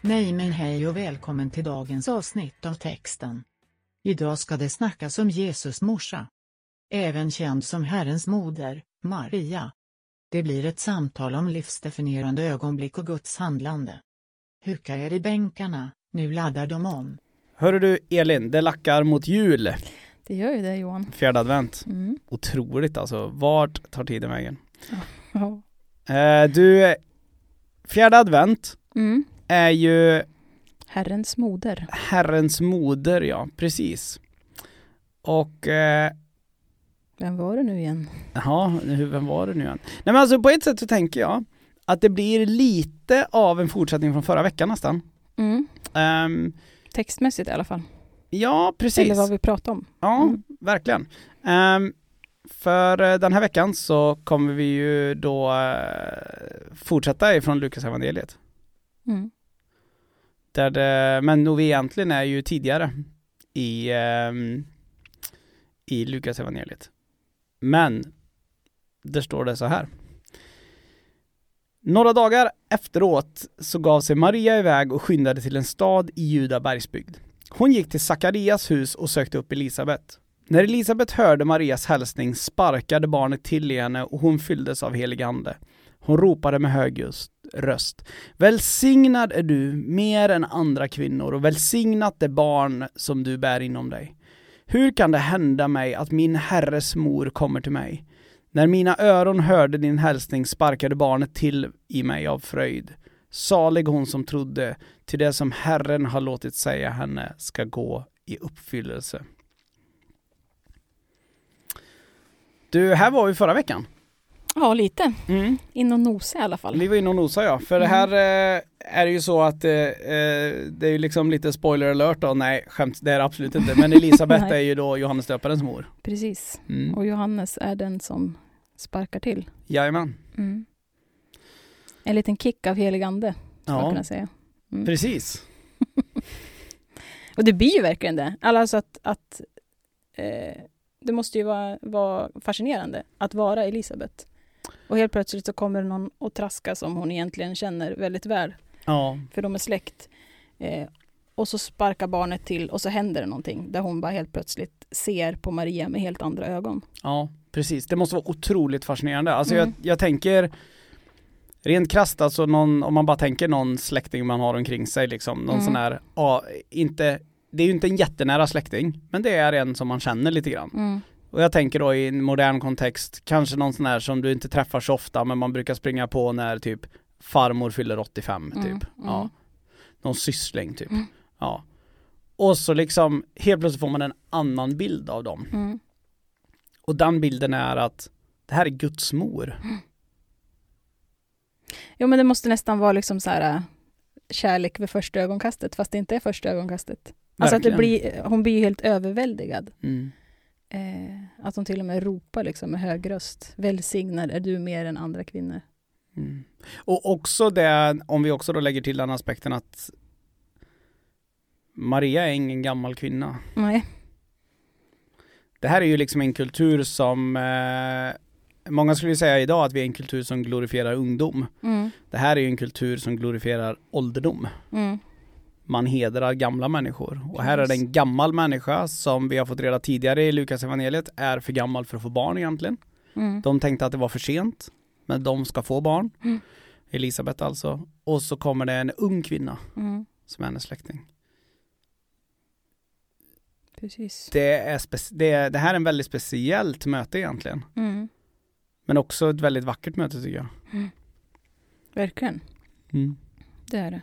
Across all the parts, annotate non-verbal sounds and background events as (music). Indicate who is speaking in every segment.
Speaker 1: Nej men hej och välkommen till dagens avsnitt av texten. Idag ska det snackas om Jesus morsa. Även känd som Herrens moder, Maria. Det blir ett samtal om livsdefinierande ögonblick och Guds handlande. Huka er i bänkarna, nu laddar de om.
Speaker 2: Hörru du Elin, det lackar mot jul,
Speaker 3: Det gör ju det Johan.
Speaker 2: fjärde advent.
Speaker 3: Mm.
Speaker 2: Otroligt alltså, vart tar tiden vägen?
Speaker 3: Ja.
Speaker 2: Eh, du, fjärde advent
Speaker 3: Mm.
Speaker 2: är ju
Speaker 3: Herrens moder.
Speaker 2: Herrens moder, ja, precis. Och, eh,
Speaker 3: Vem var det nu igen?
Speaker 2: ja, hur- vem var det nu igen? Nej men alltså på ett sätt så tänker jag att det blir lite av en fortsättning från förra veckan nästan.
Speaker 3: Mm.
Speaker 2: Ehm,
Speaker 3: Textmässigt i alla fall.
Speaker 2: ja, precis.
Speaker 3: Eller vad vi pratade om.
Speaker 2: Ja,
Speaker 3: Mm.
Speaker 2: verkligen. Ehm, för eh, den här veckan så kommer vi ju då eh, fortsätta ifrån Lukas evangeliet.
Speaker 3: Mm.
Speaker 2: Där det, men nog vi egentligen är ju tidigare i, ehm, i Lukas evangeliet. Men där står det så här. Några dagar efteråt så gav sig Maria iväg och skyndade till en stad i Juda bergsbygd. Hon gick till Sakarias hus och sökte upp Elisabet. När Elisabet hörde Marias hälsning sparkade barnet till i henne och hon fylldes av helig ande. Hon ropade med hög just- röst. Välsignad är du mer än andra kvinnor och välsignat det barn som du bär inom dig. Hur kan det hända mig att min herres mor kommer till mig? När mina öron hörde din hälsning sparkade barnet till i mig av fröjd. Salig hon som trodde, till det som Herren har låtit säga henne ska gå i uppfyllelse. Du, här var vi förra veckan.
Speaker 3: Ja, lite. In och nosa i alla fall.
Speaker 2: Vi var inne och nosade ja,
Speaker 3: Mm.
Speaker 2: för det här eh, är det ju så att eh, eh, det är ju liksom lite spoiler alert då, nej skämt, det är det absolut inte, men
Speaker 3: (laughs)
Speaker 2: Elisabet
Speaker 3: Nej.
Speaker 2: är ju då Johannes döparens mor.
Speaker 3: Precis.
Speaker 2: Mm.
Speaker 3: Och Johannes är den som sparkar till.
Speaker 2: Jajamän.
Speaker 3: Mm. En liten kick av helig ande, skulle man
Speaker 2: Ja,
Speaker 3: kunna säga. Mm.
Speaker 2: precis.
Speaker 3: Och det blir ju verkligen det. Alltså att, att eh, det måste ju vara, vara fascinerande att vara Elisabet. Och helt plötsligt så kommer någon och traska som hon egentligen känner väldigt väl,
Speaker 2: Ja,
Speaker 3: för de är släkt. Eh, och så sparkar barnet till och så händer det någonting där hon bara helt plötsligt ser på Maria med helt andra ögon.
Speaker 2: Ja, precis. Det måste vara otroligt fascinerande. Alltså
Speaker 3: Mm.
Speaker 2: jag, jag tänker rent krasst, alltså någon, om man bara tänker någon släkting man har omkring sig liksom, någon
Speaker 3: Mm.
Speaker 2: sån här, ja, inte, det är ju inte en jättenära släkting, men det är en som man känner lite grann. Och jag tänker då i en modern kontext, kanske någon sån här som du inte träffar så ofta, men man brukar springa på när typ farmor fyller 85 typ.
Speaker 3: Mm, mm.
Speaker 2: Ja. Någon syssling typ.
Speaker 3: Mm.
Speaker 2: Ja. Och så liksom, helt plötsligt får man en annan bild av dem.
Speaker 3: Mm.
Speaker 2: Och den bilden är att det här är Guds mor.
Speaker 3: Jo men det måste nästan vara liksom så här eh, kärlek vid första ögonkastet, fast det inte är första ögonkastet. Alltså att det
Speaker 2: Verkligen.
Speaker 3: blir, hon blir ju helt överväldigad.
Speaker 2: Mm.
Speaker 3: Eh, att de till och med ropar liksom med hög röst. Välsignad är du mer än andra kvinnor.
Speaker 2: Mm. Och också det, om vi också då lägger till den aspekten att Maria är ingen gammal kvinna.
Speaker 3: Nej.
Speaker 2: Det här är ju liksom en kultur som, eh, många skulle ju säga idag att vi är en kultur som glorifierar ungdom.
Speaker 3: Mm.
Speaker 2: Det här är ju en kultur som glorifierar ålderdom.
Speaker 3: Mm.
Speaker 2: Man hedrar gamla människor. Och här är det
Speaker 3: Precis.
Speaker 2: en gammal människa som vi har fått reda tidigare i Lukas evangeliet är för gammal för att få barn egentligen.
Speaker 3: Mm.
Speaker 2: De tänkte att det var för sent, men de ska få barn.
Speaker 3: Mm.
Speaker 2: Elisabeth alltså. Och så kommer det en ung kvinna
Speaker 3: Mm.
Speaker 2: som är hennes släkting.
Speaker 3: Precis.
Speaker 2: Det, är spec- det, är- det här är en väldigt speciellt möte egentligen.
Speaker 3: Mm.
Speaker 2: Men också ett väldigt vackert möte tycker jag.
Speaker 3: Verkligen, Mm. det är det.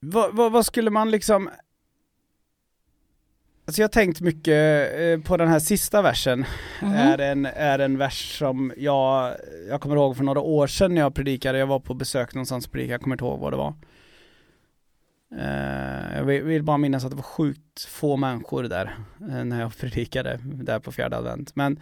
Speaker 2: Vad, vad, vad skulle man liksom... Alltså jag har tänkt mycket eh, på den här sista versen
Speaker 3: Mhm.
Speaker 2: är, en, är en vers som jag, jag kommer ihåg för några år sedan när jag predikade, jag var på besök någonstans och predikade, jag kommer inte ihåg vad det var. Eh, jag vill, vill bara minnas att det var sjukt få människor där eh, när jag (laughs) predikade där på fjärde advent. Men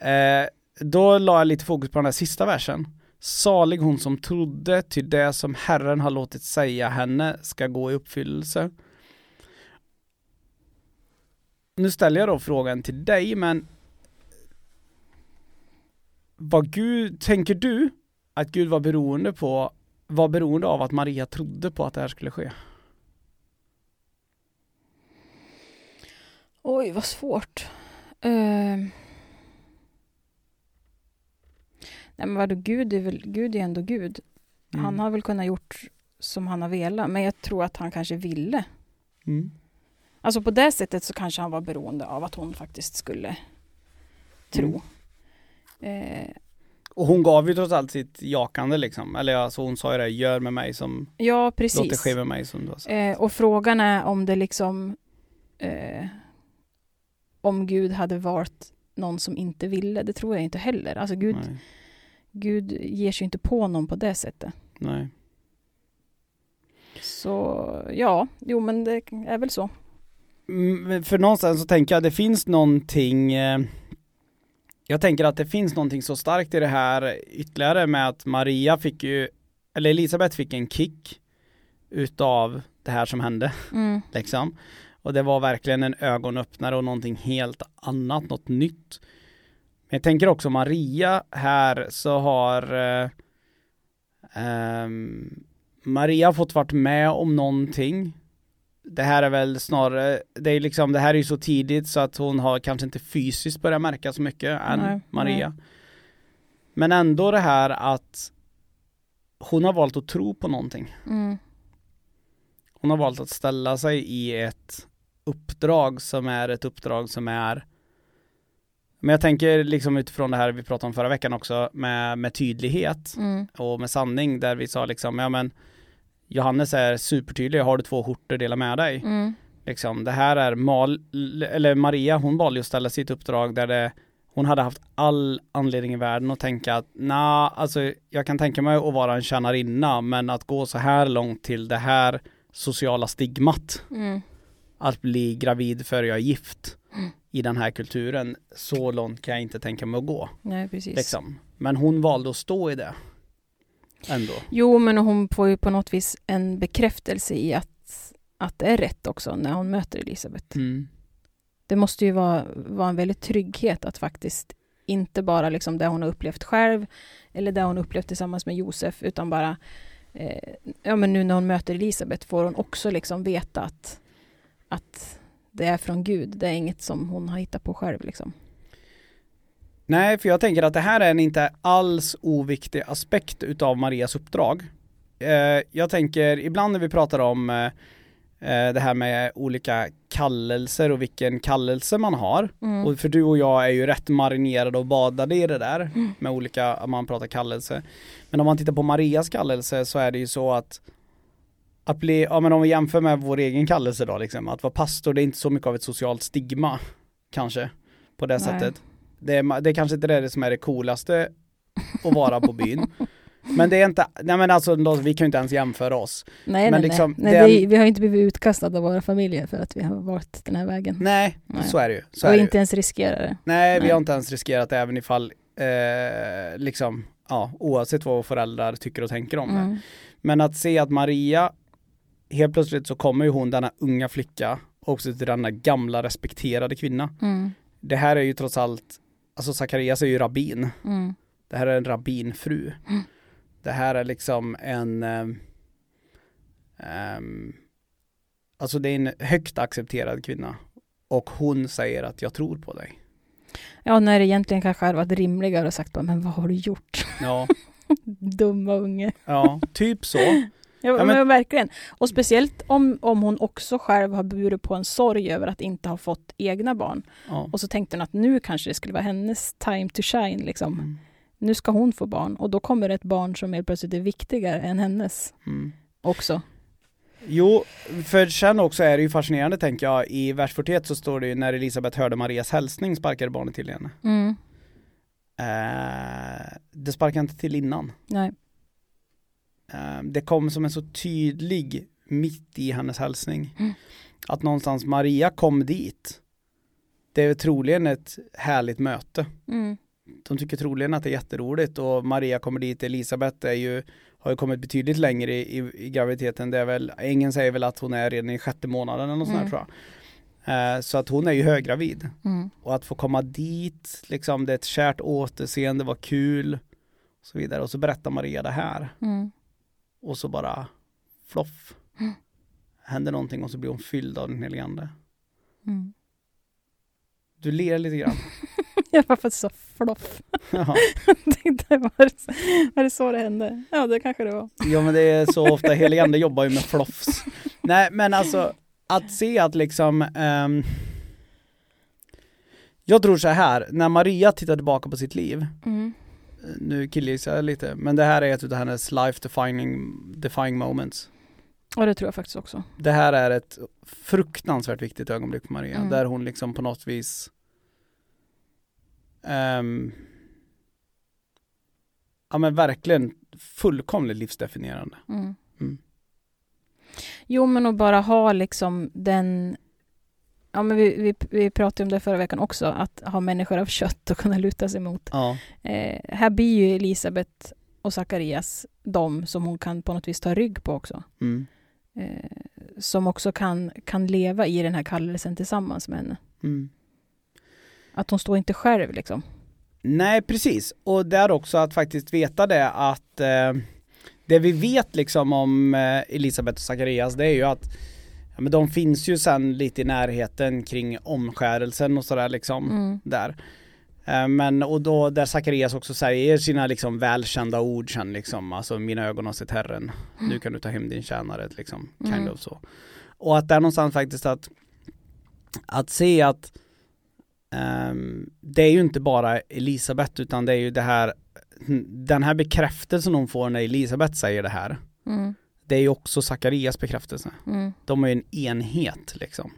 Speaker 2: eh, då la jag lite fokus på den här sista versen. Salig hon som trodde, till det som Herren har låtit säga henne ska gå i uppfyllelse. Nu ställer jag då frågan till dig, men vad Gud, tänker du att Gud var beroende på, var beroende av att Maria trodde på att det här skulle ske?
Speaker 3: Oj, vad svårt. Ehm. Nej, men vadå, Gud är, väl, Gud är ändå Gud.
Speaker 2: Mm.
Speaker 3: Han har väl kunnat gjort som han har velat, men jag tror att han kanske ville.
Speaker 2: Mm.
Speaker 3: Alltså på det sättet så kanske han var beroende av att hon faktiskt skulle tro.
Speaker 2: Mm.
Speaker 3: Eh,
Speaker 2: Och hon gav ju trots allt sitt jakande liksom, eller alltså hon sa ju det, gör med mig som,
Speaker 3: ja,
Speaker 2: låt det
Speaker 3: precis.
Speaker 2: ske med mig som du har sagt.
Speaker 3: Eh, och frågan är om det liksom... Eh, om Gud hade valt någon som inte ville, det tror jag inte heller. Alltså Gud,
Speaker 2: Nej.
Speaker 3: Gud ger sig inte på någon på det sättet.
Speaker 2: Nej.
Speaker 3: Så ja, jo men det är väl så.
Speaker 2: Mm, men För någonstans så tänker jag, det finns någonting eh, Jag tänker att det finns någonting så starkt i det här ytterligare med att Maria fick ju Eller Elisabeth fick en kick Utav det här som hände
Speaker 3: Mm,
Speaker 2: liksom Och det var verkligen en ögonöppnare och någonting helt annat, något nytt Men jag tänker också Maria här så har eh, ehm, Maria fått varit med om någonting Det här är väl snarare, det är liksom, det här är ju så tidigt så att hon har kanske inte fysiskt börjat märka så mycket än
Speaker 3: Nej,
Speaker 2: Maria Men ändå det här att hon har valt att tro på någonting
Speaker 3: mm,
Speaker 2: hon har valt att ställa sig i ett uppdrag som är ett uppdrag som är Men jag tänker liksom utifrån det här vi pratade om förra veckan också med, med tydlighet
Speaker 3: mm,
Speaker 2: och med sanning där vi sa liksom ja men Johannes är supertydlig, har du två skjortor dela med dig
Speaker 3: mm,
Speaker 2: liksom. Det här är Mal, eller Maria, hon valde ju att ställa sitt uppdrag där det, hon hade haft all anledning i världen att tänka att nah, alltså jag kan tänka mig att vara en tjänarinna, men att gå så här långt till det här sociala stigmat,
Speaker 3: mm,
Speaker 2: att bli gravid för jag är gift i den här kulturen, så långt kan jag inte tänka mig att gå.
Speaker 3: nej precis.
Speaker 2: Liksom. Men hon valde att stå i det ändå.
Speaker 3: Jo men hon får ju på något vis en bekräftelse i att, att det är rätt också när hon möter Elisabeth.
Speaker 2: Mm.
Speaker 3: Det måste ju vara, vara en väldigt trygghet att faktiskt inte bara liksom det hon har upplevt själv eller det hon upplevt tillsammans med Josef utan bara eh, ja men nu när hon möter Elisabet får hon också liksom veta att, att det är från Gud, det är inget som hon har hittat på själv liksom.
Speaker 2: Nej, för jag tänker att det här är en inte alls oviktig aspekt utav Marias uppdrag. Eh, jag tänker ibland när vi pratar om eh, eh, det här med olika kallelser och vilken kallelse man har.
Speaker 3: Mm.
Speaker 2: Och för du och jag är ju rätt marinerade och badade i det där
Speaker 3: Mm.
Speaker 2: med olika, man pratar kallelse. Men om man tittar på Marias kallelse så är det ju så att att bli, ja men om vi jämför med vår egen kallelse då liksom, att vara pastor det är inte så mycket av ett socialt stigma kanske på det
Speaker 3: Nej.
Speaker 2: sättet. Det är, ma- det är kanske inte det som är det coolaste att vara på
Speaker 3: (laughs)
Speaker 2: byn. Men det är inte, nej men alltså då- vi kan ju inte ens jämföra oss.
Speaker 3: nej,
Speaker 2: men
Speaker 3: nej,
Speaker 2: liksom,
Speaker 3: nej.
Speaker 2: den-
Speaker 3: nej det, är- vi har ju inte blivit utkastade av våra familjer för att vi har valt den här vägen.
Speaker 2: Nej,
Speaker 3: Nej.
Speaker 2: så är det ju. Så är
Speaker 3: Och
Speaker 2: det ju.
Speaker 3: inte ens riskerar det.
Speaker 2: Nej, vi
Speaker 3: Nej.
Speaker 2: har inte ens riskerat det även ifall, eh, liksom, ja, oavsett vad våra föräldrar tycker och tänker om det.
Speaker 3: Mm.
Speaker 2: Men att se att Maria, helt plötsligt så kommer ju hon, denna unga flicka, också till denna gamla respekterade kvinna.
Speaker 3: Mm.
Speaker 2: Det här är ju trots allt, alltså Zacharias är ju rabbin.
Speaker 3: Mm.
Speaker 2: Det här är en rabbinfru. Det här är liksom en ehm, ehm, Alltså det är en högt accepterad kvinna. Och hon säger att jag tror på dig.
Speaker 3: Ja, när det egentligen kanske hade varit rimligare och sagt bara, men vad har du gjort? (laughs)
Speaker 2: Ja,
Speaker 3: Dumma unge.
Speaker 2: ja typ (laughs) så.
Speaker 3: Ja,
Speaker 2: Ja,
Speaker 3: men,
Speaker 2: men-
Speaker 3: verkligen. Och speciellt om, om hon också själv har burit på en sorg över att inte ha fått egna barn.
Speaker 2: Ja.
Speaker 3: Och så tänkte hon att nu kanske det skulle vara hennes time to shine. Liksom.
Speaker 2: Mm.
Speaker 3: Nu ska hon få barn och då kommer ett barn som helt plötsligt är viktigare än hennes
Speaker 2: Mm.
Speaker 3: också.
Speaker 2: Jo, för sen också är det ju fascinerande tänker jag, i vers 41 så står det ju när Elisabet hörde Marias hälsning sparkade barnet till henne.
Speaker 3: Mm.
Speaker 2: Eh, det sparkade inte till innan.
Speaker 3: Nej.
Speaker 2: Eh, det kom som en så tydlig mitt i hennes hälsning.
Speaker 3: Mm.
Speaker 2: Att någonstans Maria kom dit. Det är troligen ett härligt möte.
Speaker 3: Mm.
Speaker 2: De tycker troligen att det är jätteroligt och Maria kommer dit, Elisabeth är ju, har ju kommit betydligt längre i, i, i graviditeten. Det är väl, ängeln säger väl att hon är redan i sjätte månaden eller något sånt
Speaker 3: Mm.
Speaker 2: där tror jag. Eh, så att hon är ju höggravid
Speaker 3: Mm.
Speaker 2: och Och att få komma dit, liksom det är ett kärt återseende, var kul. Och så vidare. Och så berättar Maria det här.
Speaker 3: Mm.
Speaker 2: Och så bara floff. Händer någonting och så blir hon fylld av den helige ande.
Speaker 3: Mm.
Speaker 2: Du ler lite grann.
Speaker 3: (laughs) Jag var faktiskt så floff. (laughs)
Speaker 2: ja.
Speaker 3: Tänkte, var, det så, var det så det hände? Ja, det kanske det var.
Speaker 2: ja men det är så ofta, helige ande jobbar ju med floffs. Nej men alltså att se att liksom ehm, Jag tror så här, när Maria tittar tillbaka på sitt liv
Speaker 3: Mm.
Speaker 2: nu killgissar jag lite, men det här är ett av hennes life defining, defining moments.
Speaker 3: Och det tror jag faktiskt också.
Speaker 2: Det här är ett fruktansvärt viktigt ögonblick för Maria,
Speaker 3: Mm.
Speaker 2: där hon liksom på något vis ehm, Ja men verkligen fullkomligt livsdefinierande.
Speaker 3: Mm.
Speaker 2: Mm.
Speaker 3: Jo, men att bara ha liksom den... Ja, men vi, vi, vi pratade om det förra veckan också, att ha människor av kött och kunna luta sig mot.
Speaker 2: Ja,
Speaker 3: Eh, här blir ju Elisabet och Sakarias de som hon kan på något vis ta rygg på också.
Speaker 2: mm,
Speaker 3: Eh, som också kan, kan leva i den här kallelsen tillsammans med henne.
Speaker 2: mm.
Speaker 3: Att hon står inte själv liksom.
Speaker 2: Nej precis, och där också att faktiskt veta det att eh, det vi vet liksom om eh, Elisabeth och Zacharias det är ju att ja, men de finns ju sen lite i närheten kring omskärelsen och sådär liksom
Speaker 3: Mm.
Speaker 2: där. Eh, Men och då där Zacharias också säger sina liksom välkända ord sen liksom, alltså mina ögon har sett Herren, nu kan du ta hem din tjänare liksom, kind
Speaker 3: Mm.
Speaker 2: of så. Och att där någonstans faktiskt att, att se att ehm, det är ju inte bara Elisabet utan det är ju det här, den här bekräftelsen hon får när Elisabet säger det här,
Speaker 3: Mm.
Speaker 2: det är ju också Zacharias bekräftelse
Speaker 3: Mm.
Speaker 2: de är ju en enhet liksom.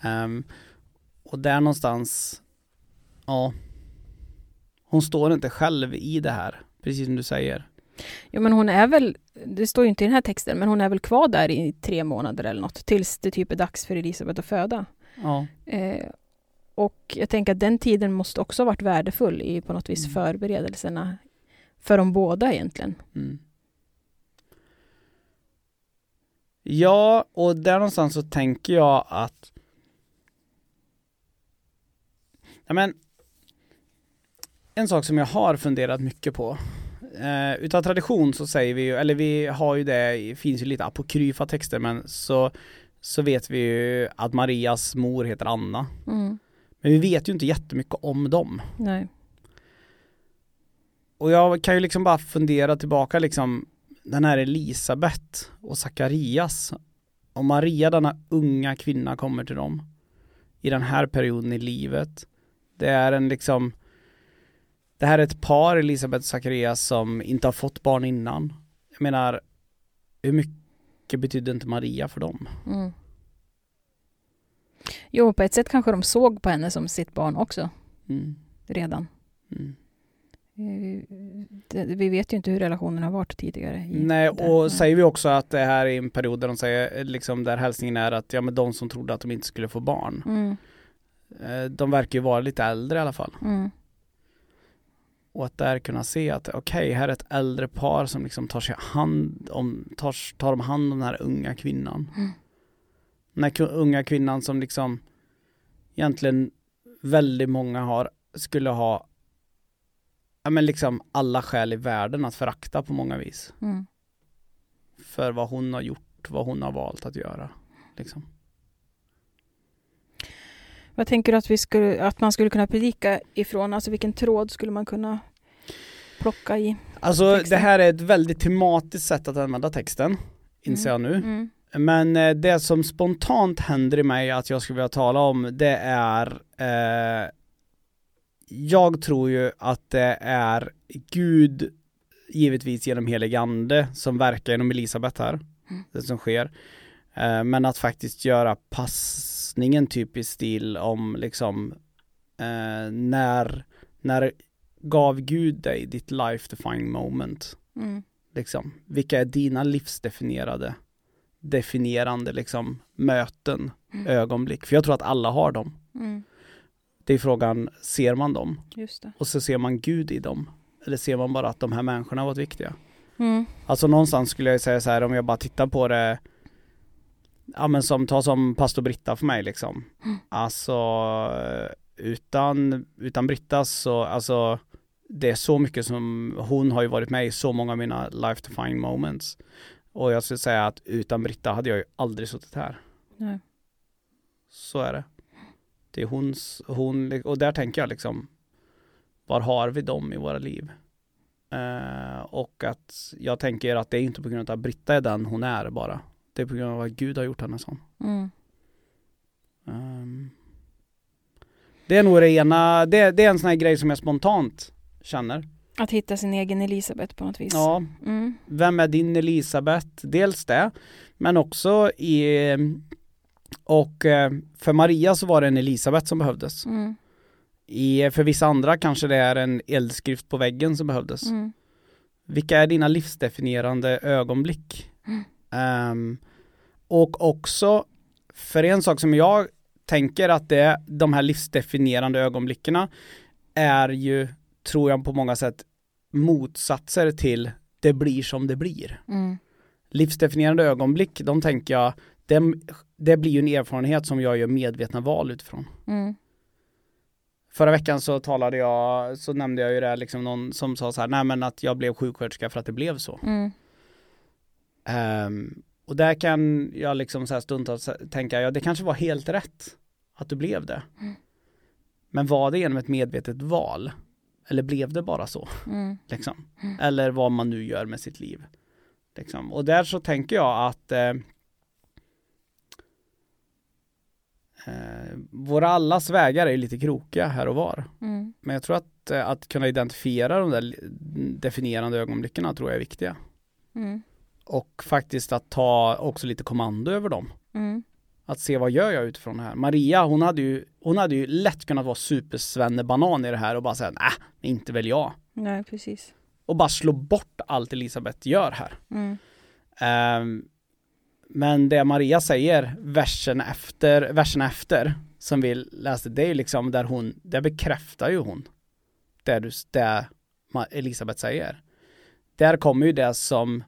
Speaker 2: Ehm, och där någonstans, ja, hon står inte själv i det här, precis som du säger.
Speaker 3: Jo, men hon är väl, det står ju inte i den här texten, men hon är väl kvar där i tre månader eller något, tills det typ är dags för Elisabet att föda.
Speaker 2: Ja,
Speaker 3: Eh, och jag tänker att den tiden måste också ha varit värdefull i på något vis
Speaker 2: Mm.
Speaker 3: förberedelserna för de båda egentligen.
Speaker 2: mm. ja och där någonstans så tänker jag att, ja men, en sak som jag har funderat mycket på Eh, utav tradition så säger vi ju, eller vi har ju det, det finns ju lite apokryfa texter men så, så vet vi ju att Marias mor heter Anna. Men vi vet ju inte jättemycket om dem.
Speaker 3: Nej.
Speaker 2: Och jag kan ju liksom bara fundera tillbaka liksom den här Elisabet och Sakarias. Och Maria, denna unga kvinna, kommer till dem i den här perioden i livet. Det är en liksom det här är ett par, Elisabet och Sakarias, som inte har fått barn innan. Jag menar, hur mycket betydde inte Maria för dem?
Speaker 3: Mm. Jo, på ett sätt kanske de såg på henne som sitt barn också
Speaker 2: Mm.
Speaker 3: redan.
Speaker 2: Mm.
Speaker 3: Eh, det- Vi vet ju inte hur relationen har varit tidigare. i-
Speaker 2: Nej,
Speaker 3: där.
Speaker 2: och
Speaker 3: Nej.
Speaker 2: säger vi också att det här är en period där de säger, eh, liksom där hälsningen är att ja men de som trodde att de inte skulle få barn,
Speaker 3: Mm,
Speaker 2: eh, de verkar ju vara lite äldre i alla fall.
Speaker 3: mm,
Speaker 2: Och att där kunna se att okej, här är ett äldre par som liksom tar sig hand om, tar, tar de hand om den här unga kvinnan.
Speaker 3: Mm.
Speaker 2: Den här ku- unga kvinnan som liksom egentligen väldigt många har, skulle ha, ja men liksom alla skäl i världen att förakta på många vis.
Speaker 3: mm.
Speaker 2: för vad hon har gjort, vad hon har valt att göra. Liksom.
Speaker 3: Vad tänker du att, vi skulle, att man skulle kunna predika ifrån? Alltså vilken tråd skulle man kunna plocka i?
Speaker 2: Alltså
Speaker 3: Texten.
Speaker 2: det här är ett väldigt tematiskt sätt att använda texten, inser jag nu.
Speaker 3: Mm.
Speaker 2: Men eh, det som spontant händer i mig att jag skulle vilja tala om, det är eh, Jag tror ju att det är Gud, givetvis genom helig ande, som verkar genom Elisabet här,
Speaker 3: Mm.
Speaker 2: det som sker. Eh, men att faktiskt göra passningen typ i stil om liksom eh, när, när gav Gud dig ditt life defining moment?
Speaker 3: Mm.
Speaker 2: liksom, vilka är dina livsdefinierade, definierande liksom möten,
Speaker 3: Mm.
Speaker 2: ögonblick? För jag tror att alla har dem.
Speaker 3: Mm.
Speaker 2: Det är frågan, ser man dem?
Speaker 3: Just det.
Speaker 2: Och så ser man Gud i dem? Eller ser man bara att de här människorna har varit viktiga?
Speaker 3: Mm.
Speaker 2: Alltså någonstans skulle jag säga så här om jag bara tittar på det Ja men som, ta som pastor Britta för mig liksom Alltså eh, utan, utan Britta så, alltså det är så mycket som, hon har ju varit med i så många av mina life defying moments. Och jag skulle säga att utan Britta hade jag ju aldrig suttit här.
Speaker 3: Nej.
Speaker 2: Så är det. Det är hons, hon, och där tänker jag liksom, var har vi dem i våra liv? Eh, och att jag tänker att det är inte på grund av att Britta är den hon är bara. Det är på grund av att Gud har gjort henne sån.
Speaker 3: Mm.
Speaker 2: Ehm. Det är nog det ena, det, det är en sån här grej som jag spontant känner.
Speaker 3: Att hitta sin egen Elisabeth på något vis.
Speaker 2: Ja,
Speaker 3: Mm.
Speaker 2: vem är din Elisabeth? Dels det, men också i, och eh, för Maria så var det en Elisabeth som behövdes.
Speaker 3: Mm.
Speaker 2: I, för vissa andra kanske det är en eldskrift på väggen som behövdes.
Speaker 3: Mm.
Speaker 2: Vilka är dina livsdefinierande ögonblick?
Speaker 3: Mm.
Speaker 2: Ehm, och också, för en sak som jag tänker att det är de här livsdefinierande ögonblicken är ju, tror jag på många sätt, motsatser till det blir som det blir.
Speaker 3: Mm.
Speaker 2: Livsdefinierande ögonblick, de tänker jag, dem- det blir ju en erfarenhet som jag gör medvetna val utifrån.
Speaker 3: Mm.
Speaker 2: Förra veckan så talade jag, så nämnde jag ju det här, liksom någon som sa så här, nej men att jag blev sjuksköterska för att det blev så.
Speaker 3: Mm.
Speaker 2: Ehm, och där kan jag liksom så här stundtals tänka, ja det kanske var helt rätt att du blev det.
Speaker 3: Mm.
Speaker 2: Men var det genom ett medvetet val? Eller blev det bara så? (laughs)
Speaker 3: Mm.
Speaker 2: Liksom?
Speaker 3: Mm.
Speaker 2: Eller vad man nu gör med sitt liv. Liksom. Och där så tänker jag att eh, eh, våra allas vägar är ju lite krokiga här och var.
Speaker 3: Mm.
Speaker 2: Men jag tror att, eh, att kunna identifiera de där li- definierande ögonblicken tror jag är viktiga.
Speaker 3: Mm.
Speaker 2: Och faktiskt att ta också lite kommando över dem.
Speaker 3: Mm.
Speaker 2: Att se vad gör jag utifrån det här. Maria, hon hade ju, hon hade ju lätt kunnat vara supersvennebanan i det här och bara säga nej, inte väl jag.
Speaker 3: Nej, precis.
Speaker 2: Och bara slå bort allt Elisabeth gör här.
Speaker 3: Mm.
Speaker 2: Ehm, men det Maria säger, versen efter, versen efter, som vi läste, det är ju liksom där hon, där bekräftar ju hon det, du, det Ma- Elisabeth säger. Där kommer ju det som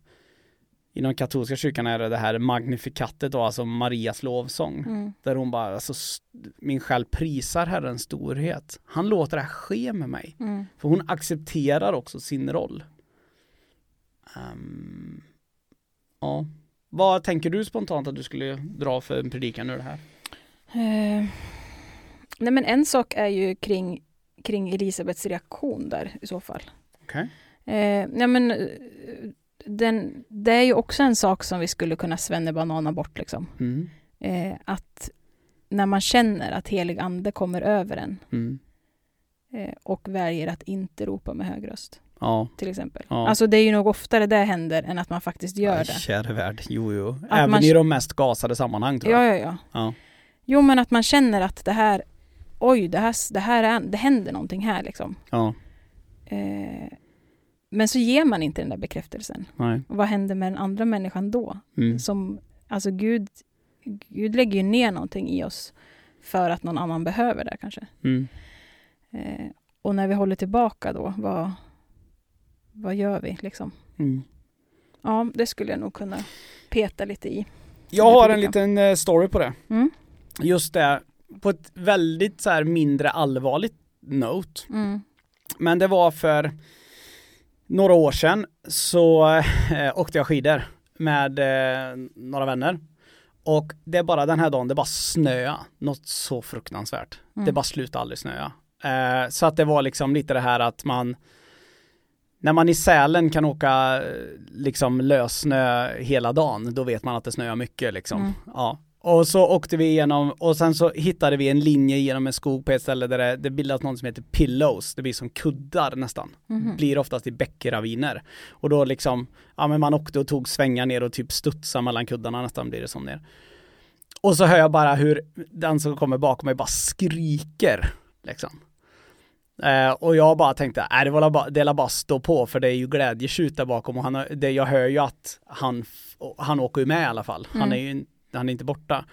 Speaker 2: inom katolska kyrkan är det, det här magnifikatet då, alltså Marias lovsång.
Speaker 3: Mm.
Speaker 2: Där hon bara, alltså s- min själ prisar Herrens storhet. Han låter det här ske med mig.
Speaker 3: Mm.
Speaker 2: För hon accepterar också sin roll. Ehm, ja. Vad tänker du spontant att du skulle dra för en predikan ur det här?
Speaker 3: Eh, nej men en sak är ju kring, kring Elisabeths reaktion där i så fall.
Speaker 2: Okej.
Speaker 3: Eh, nej men eh, den, det är ju också en sak som vi skulle kunna svennebanana bort liksom.
Speaker 2: Mm.
Speaker 3: Eh, att när man känner att helig ande kommer över en
Speaker 2: Mm.
Speaker 3: eh, och väljer att inte ropa med hög röst
Speaker 2: Ja.
Speaker 3: till exempel.
Speaker 2: Ja.
Speaker 3: Alltså det är ju nog oftare det händer än att man faktiskt gör
Speaker 2: Aj,
Speaker 3: det.
Speaker 2: Käre värld. Jo, jo. Även
Speaker 3: man-
Speaker 2: i de mest gasade sammanhang tror jag.
Speaker 3: Ja, ja, ja.
Speaker 2: Ja.
Speaker 3: Jo, men att man känner att det här, oj, det här, det här är, det händer någonting här liksom.
Speaker 2: Ja.
Speaker 3: Eh, men så ger man inte den där bekräftelsen.
Speaker 2: Nej.
Speaker 3: Och vad händer med den andra människan då?
Speaker 2: Mm.
Speaker 3: Som, alltså Gud, Gud lägger ju ner någonting i oss för att någon annan behöver det kanske.
Speaker 2: Mm.
Speaker 3: Eh, och när vi håller tillbaka då, vad, vad gör vi liksom?
Speaker 2: Mm.
Speaker 3: Ja, det skulle jag nog kunna peta lite i.
Speaker 2: Jag har en liten eh, story på det.
Speaker 3: Mm.
Speaker 2: Just det, på ett väldigt så här mindre allvarligt note
Speaker 3: Mm.
Speaker 2: Men det var för några år sedan så eh, åkte jag skidor med eh, några vänner. Och det är bara den här dagen, det bara snöa något så fruktansvärt.
Speaker 3: Mm.
Speaker 2: Det bara slutade aldrig snöa. Eh, så att det var liksom lite det här att man när man i Sälen kan åka eh, liksom lössnö hela dagen, då vet man att det snöar mycket liksom.
Speaker 3: Mm.
Speaker 2: Ja. Och så åkte vi igenom, och sen så hittade vi en linje genom en skog på ett ställe där det, det bildas något som heter pillows, det blir som kuddar nästan
Speaker 3: Mhm.
Speaker 2: blir oftast i bäckraviner. Och då liksom, ja men man åkte och tog svängar ner och typ studsade mellan kuddarna nästan blir det som ner. Och så hör jag bara hur den som kommer bakom mig bara skriker. Liksom. Eh, och jag bara tänkte, nej det var la bara, det är la bara stå på för det är ju glädjetjut där bakom och han, har- det, jag hör ju att han, f- han åker ju med i alla fall. Han
Speaker 3: Mm.
Speaker 2: är ju in- han är inte borta.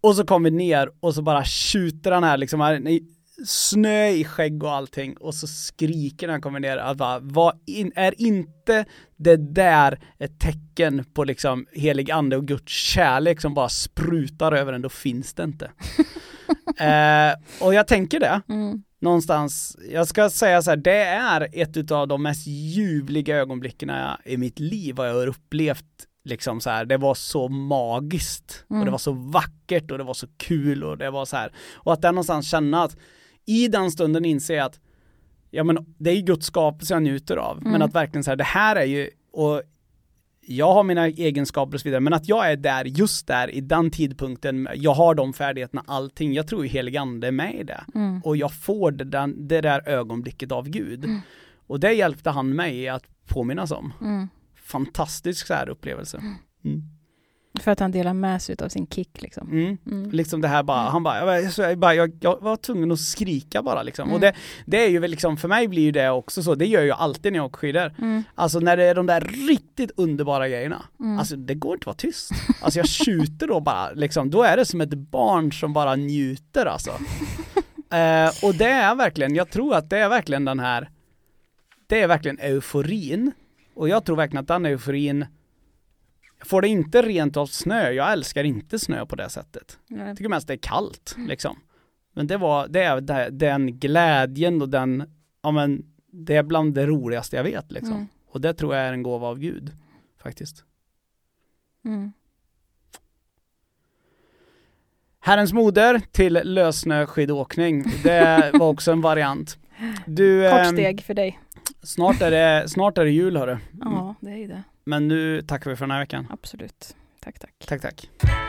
Speaker 2: Och så kom vi ner och så bara tjuter han här liksom, här, nej, snö i skägg och allting och så skriker när han kommer ner att bara, vad in, är inte det där ett tecken på liksom helig ande och Guds kärlek som bara sprutar över en, då finns det inte. eh, och jag tänker det,
Speaker 3: Mm.
Speaker 2: någonstans, jag ska säga så här, det är ett av de mest ljuvliga ögonblicken i mitt liv, vad jag har upplevt liksom så här, det var så magiskt
Speaker 3: Mm.
Speaker 2: och det var så vackert och det var så kul och det var så här, och att där någonstans känna att i den stunden inse jag att ja men det är ju Guds skapelse jag njuter av, men
Speaker 3: Mm.
Speaker 2: att verkligen så här, det här är ju, och jag har mina egenskaper och så vidare, men att jag är där, just där, i den tidpunkten, jag har de färdigheterna, allting, jag tror ju helig ande är med i det
Speaker 3: Mm.
Speaker 2: och jag får det där, det där ögonblicket av Gud.
Speaker 3: Mm.
Speaker 2: Och det hjälpte han mig att påminnas om.
Speaker 3: Mm.
Speaker 2: Fantastisk så här upplevelse. Mm.
Speaker 3: För att han delar med sig av sin kick liksom.
Speaker 2: Mm.
Speaker 3: Mm.
Speaker 2: Liksom det här bara, han bara, jag, var- så jag, bara jag, jag var tvungen att skrika bara liksom.
Speaker 3: Mm.
Speaker 2: Och det, det är ju väl liksom, för mig blir ju det också så, det gör jag ju alltid när jag åker skidor.
Speaker 3: Mm.
Speaker 2: Alltså när det är de där riktigt underbara grejerna.
Speaker 3: Mm.
Speaker 2: Alltså det går inte att vara tyst. Alltså jag tjuter då bara liksom, då är det som ett barn som bara njuter
Speaker 3: (laughs)
Speaker 2: alltså. Eh, och det är verkligen, jag tror att det är verkligen den här, det är verkligen euforin. Och jag tror verkligen att den euforin, jag får det inte rent av snö, jag älskar inte snö på det sättet.
Speaker 3: Ja.
Speaker 2: Jag tycker mest det är kallt
Speaker 3: Mm.
Speaker 2: liksom. Men det var, det är det- den glädjen och den, ja men det är bland det roligaste jag vet liksom.
Speaker 3: Mm.
Speaker 2: Och det tror jag är en gåva av Gud faktiskt.
Speaker 3: Mm.
Speaker 2: Herrens moder till lössnöskidåkning.
Speaker 3: (laughs)
Speaker 2: Det var också en variant. Du,
Speaker 3: Kort
Speaker 2: ehm,
Speaker 3: steg för dig.
Speaker 2: snart, är det, snart är det jul hörru.
Speaker 3: Ja, det är ju det.
Speaker 2: Men nu tackar vi för den här veckan.
Speaker 3: Absolut. Tack, tack.
Speaker 2: Tack, tack.